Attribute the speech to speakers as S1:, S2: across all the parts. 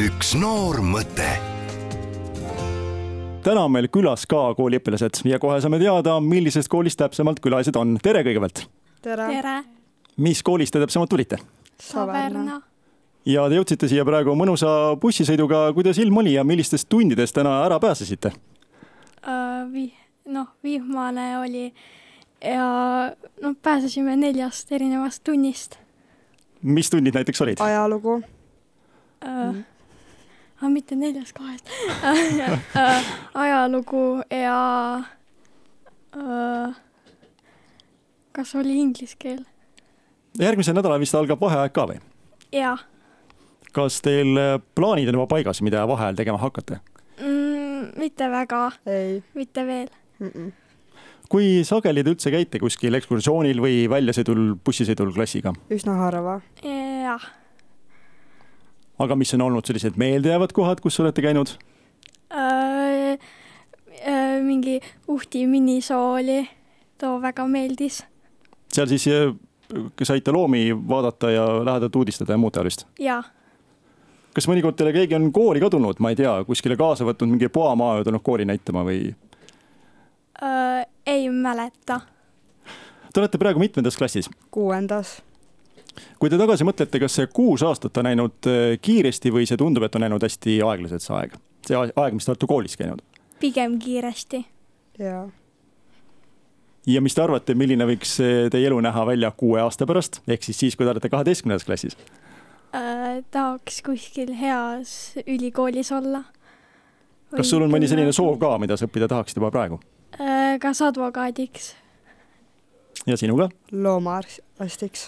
S1: üks noor mõte
S2: täna on meil külas ka kooliõpilased ja kohe saame teada, millisest koolist täpsemalt külalised on. tere kõigepealt.
S3: tere,
S4: tere ,
S2: mis koolist te täpsemalt tulite?
S3: Saverna.
S4: Saverna .
S2: ja te jõudsite siia praegu mõnusa bussisõiduga, kuidas ilm oli ja millistes tundides täna ära pääsesite?
S4: vih- , noh , vihmane oli ja noh , pääsesime neljast erinevast tunnist .
S2: mis tunnid näiteks olid ?
S3: ajalugu ,
S4: Äh, aga mitte neljast kohest ajalugu ja äh, kas oli inglise keel ?
S2: järgmisel nädalal vist algab vaheaeg ka või ?
S4: jaa
S2: kas teil äh, plaanid on juba paigas , mida vaheajal tegema hakkate ?
S4: mm, , mitte väga ,
S3: ei
S4: mitte veel .
S3: mm . -mm.
S2: kui sageli te üldse käite kuskil ekskursioonil või väljasõidul , bussisõidul klassiga ?
S3: üsna harva ,
S4: jah ,
S2: aga mis on olnud sellised meeldejäävad kohad , kus olete käinud ?
S4: Äh, mingi Uhti minisoo oli , too väga meeldis
S2: seal siis äh, saite loomi vaadata ja lähedalt uudistada ja muud taolist .
S4: ja
S2: kas mõnikord teile keegi on kooli ka tulnud , ma ei tea , kuskile kaasa võtnud mingi poamaa ja tulnud kooli näitama või ?
S4: Öö, ei mäleta .
S2: Te olete praegu mitmendas klassis ,
S3: kuuendas ,
S2: kui te tagasi mõtlete , kas see kuus aastat on läinud äh, kiiresti või see tundub , et on läinud hästi aeglaselt see aeg , see a- aeg , mis te olete koolis käinud
S4: pigem kiiresti .
S3: jaa .
S2: ja mis te arvate , milline võiks äh, teie elu näha välja kuue aasta pärast , ehk siis siis , kui te olete kaheteistkümnendas klassis ?
S4: tahaks kuskil heas ülikoolis olla .
S2: kas sul on mõni selline soov ? ka , mida sa õppida tahaksid juba praegu
S4: kas advokaadiks ?
S2: ja sinuga ?
S3: loomaarstiks ,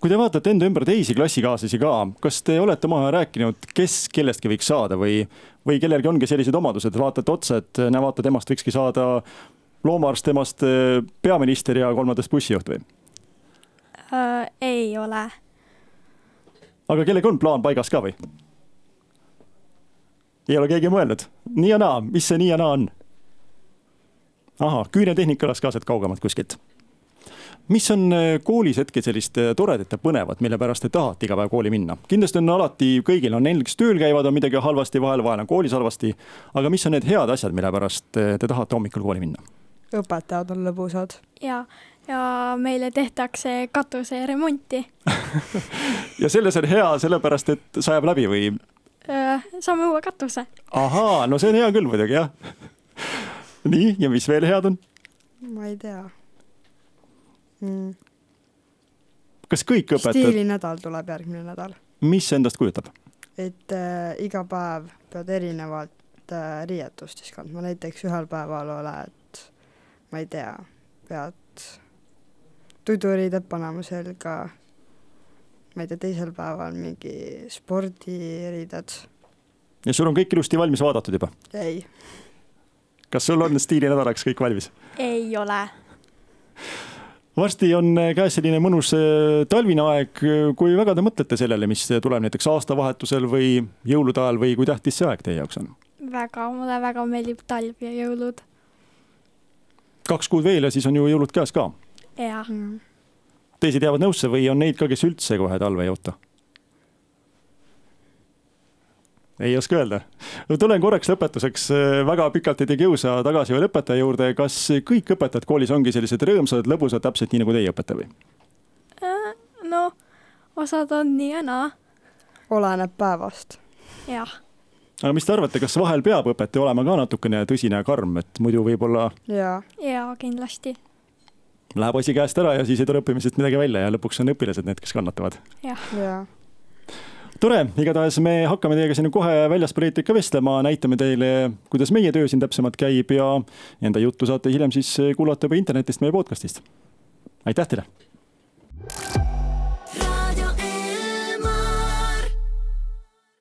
S2: kui te vaatate enda ümber teisi klassikaaslasi ka , kas te olete omavahel rääkinud , kes kellestki võiks saada või , või kellelgi ongi sellised omadused , vaatate otsa , et näe , vaata , temast võikski saada loomaarst , temast äh, peaminister ja kolmandast bussijuht või ?
S4: ei ole .
S2: aga kellelgi on plaan paigas ka või ? ei ole keegi mõelnud , nii ja naa , mis see nii ja naa on ? ahah , küünetehnik kõlas ka sealt kaugemalt kuskilt . mis on äh, koolis hetkel sellist äh, toredat ja põnevat , mille pärast te tahate iga päev kooli minna ? kindlasti on alati kõigil on neil , kes tööl käivad , on midagi halvasti vahel , vahel on koolis halvasti . aga mis on need head asjad , mille pärast äh, te tahate hommikul kooli minna ?
S3: õpetajad on lõbusad ,
S4: ja , ja meile tehtakse katuseremonti .
S2: ja selles on hea sellepärast , et sajab läbi või
S4: saame uue katuse .
S2: ahaa , no see on hea küll muidugi jah . nii , ja mis veel head on ?
S3: ma ei tea mm. .
S2: kas kõik õpetajad ,
S3: stiilinädal tuleb järgmine nädal ,
S2: mis see endast kujutab ?
S3: et äh, iga päev pead erinevalt äh, riietust siis kandma , näiteks ühel päeval oled , ma ei tea , pead tuduriided panema selga , ma ei tea , teisel päeval mingi spordiriided ,
S2: ja sul on kõik ilusti valmis vaadatud juba .
S3: ei
S2: kas sul on stiilinädalaks kõik valmis ?
S4: ei ole .
S2: varsti on käes selline mõnus äh, talvine aeg , kui väga te mõtlete sellele , mis tuleb näiteks aastavahetusel või jõulude ajal või kui tähtis see aeg teie jaoks on ?
S4: väga , mulle väga meeldib talv ja jõulud .
S2: kaks kuud veel ja siis on ju jõulud käes ka .
S4: jah ,
S3: mm. .
S2: teised jäävad nõusse või on neid ka , kes üldse kohe talve ei oota ? ei oska öelda . no tulen korraks lõpetuseks , väga pikalt ei tee kiusa tagasi veel õpetaja juurde , kas kõik õpetajad koolis ongi sellised rõõmsad , lõbusad , täpselt nii nagu teie õpetaja või ?
S4: noh , osad on nii ja naa ,
S3: oleneb päevast .
S4: jah .
S2: aga mis te arvate , kas vahel peab õpetaja olema ka natukene tõsine ja karm , et muidu võib-olla
S3: jaa ,
S4: jaa , kindlasti ,
S2: läheb asi käest ära ja siis ei tule õppimisest midagi välja ja lõpuks on õpilased need , kes kannatavad .
S4: jah .
S3: jaa .
S2: tore , igatahes me hakkame teiega siin kohe väljaspool eetrit ka vestlema , näitame teile , kuidas meie töö siin täpsemalt käib ja enda juttu saate hiljem siis kuulata juba internetist meie podcast'ist . aitäh teile .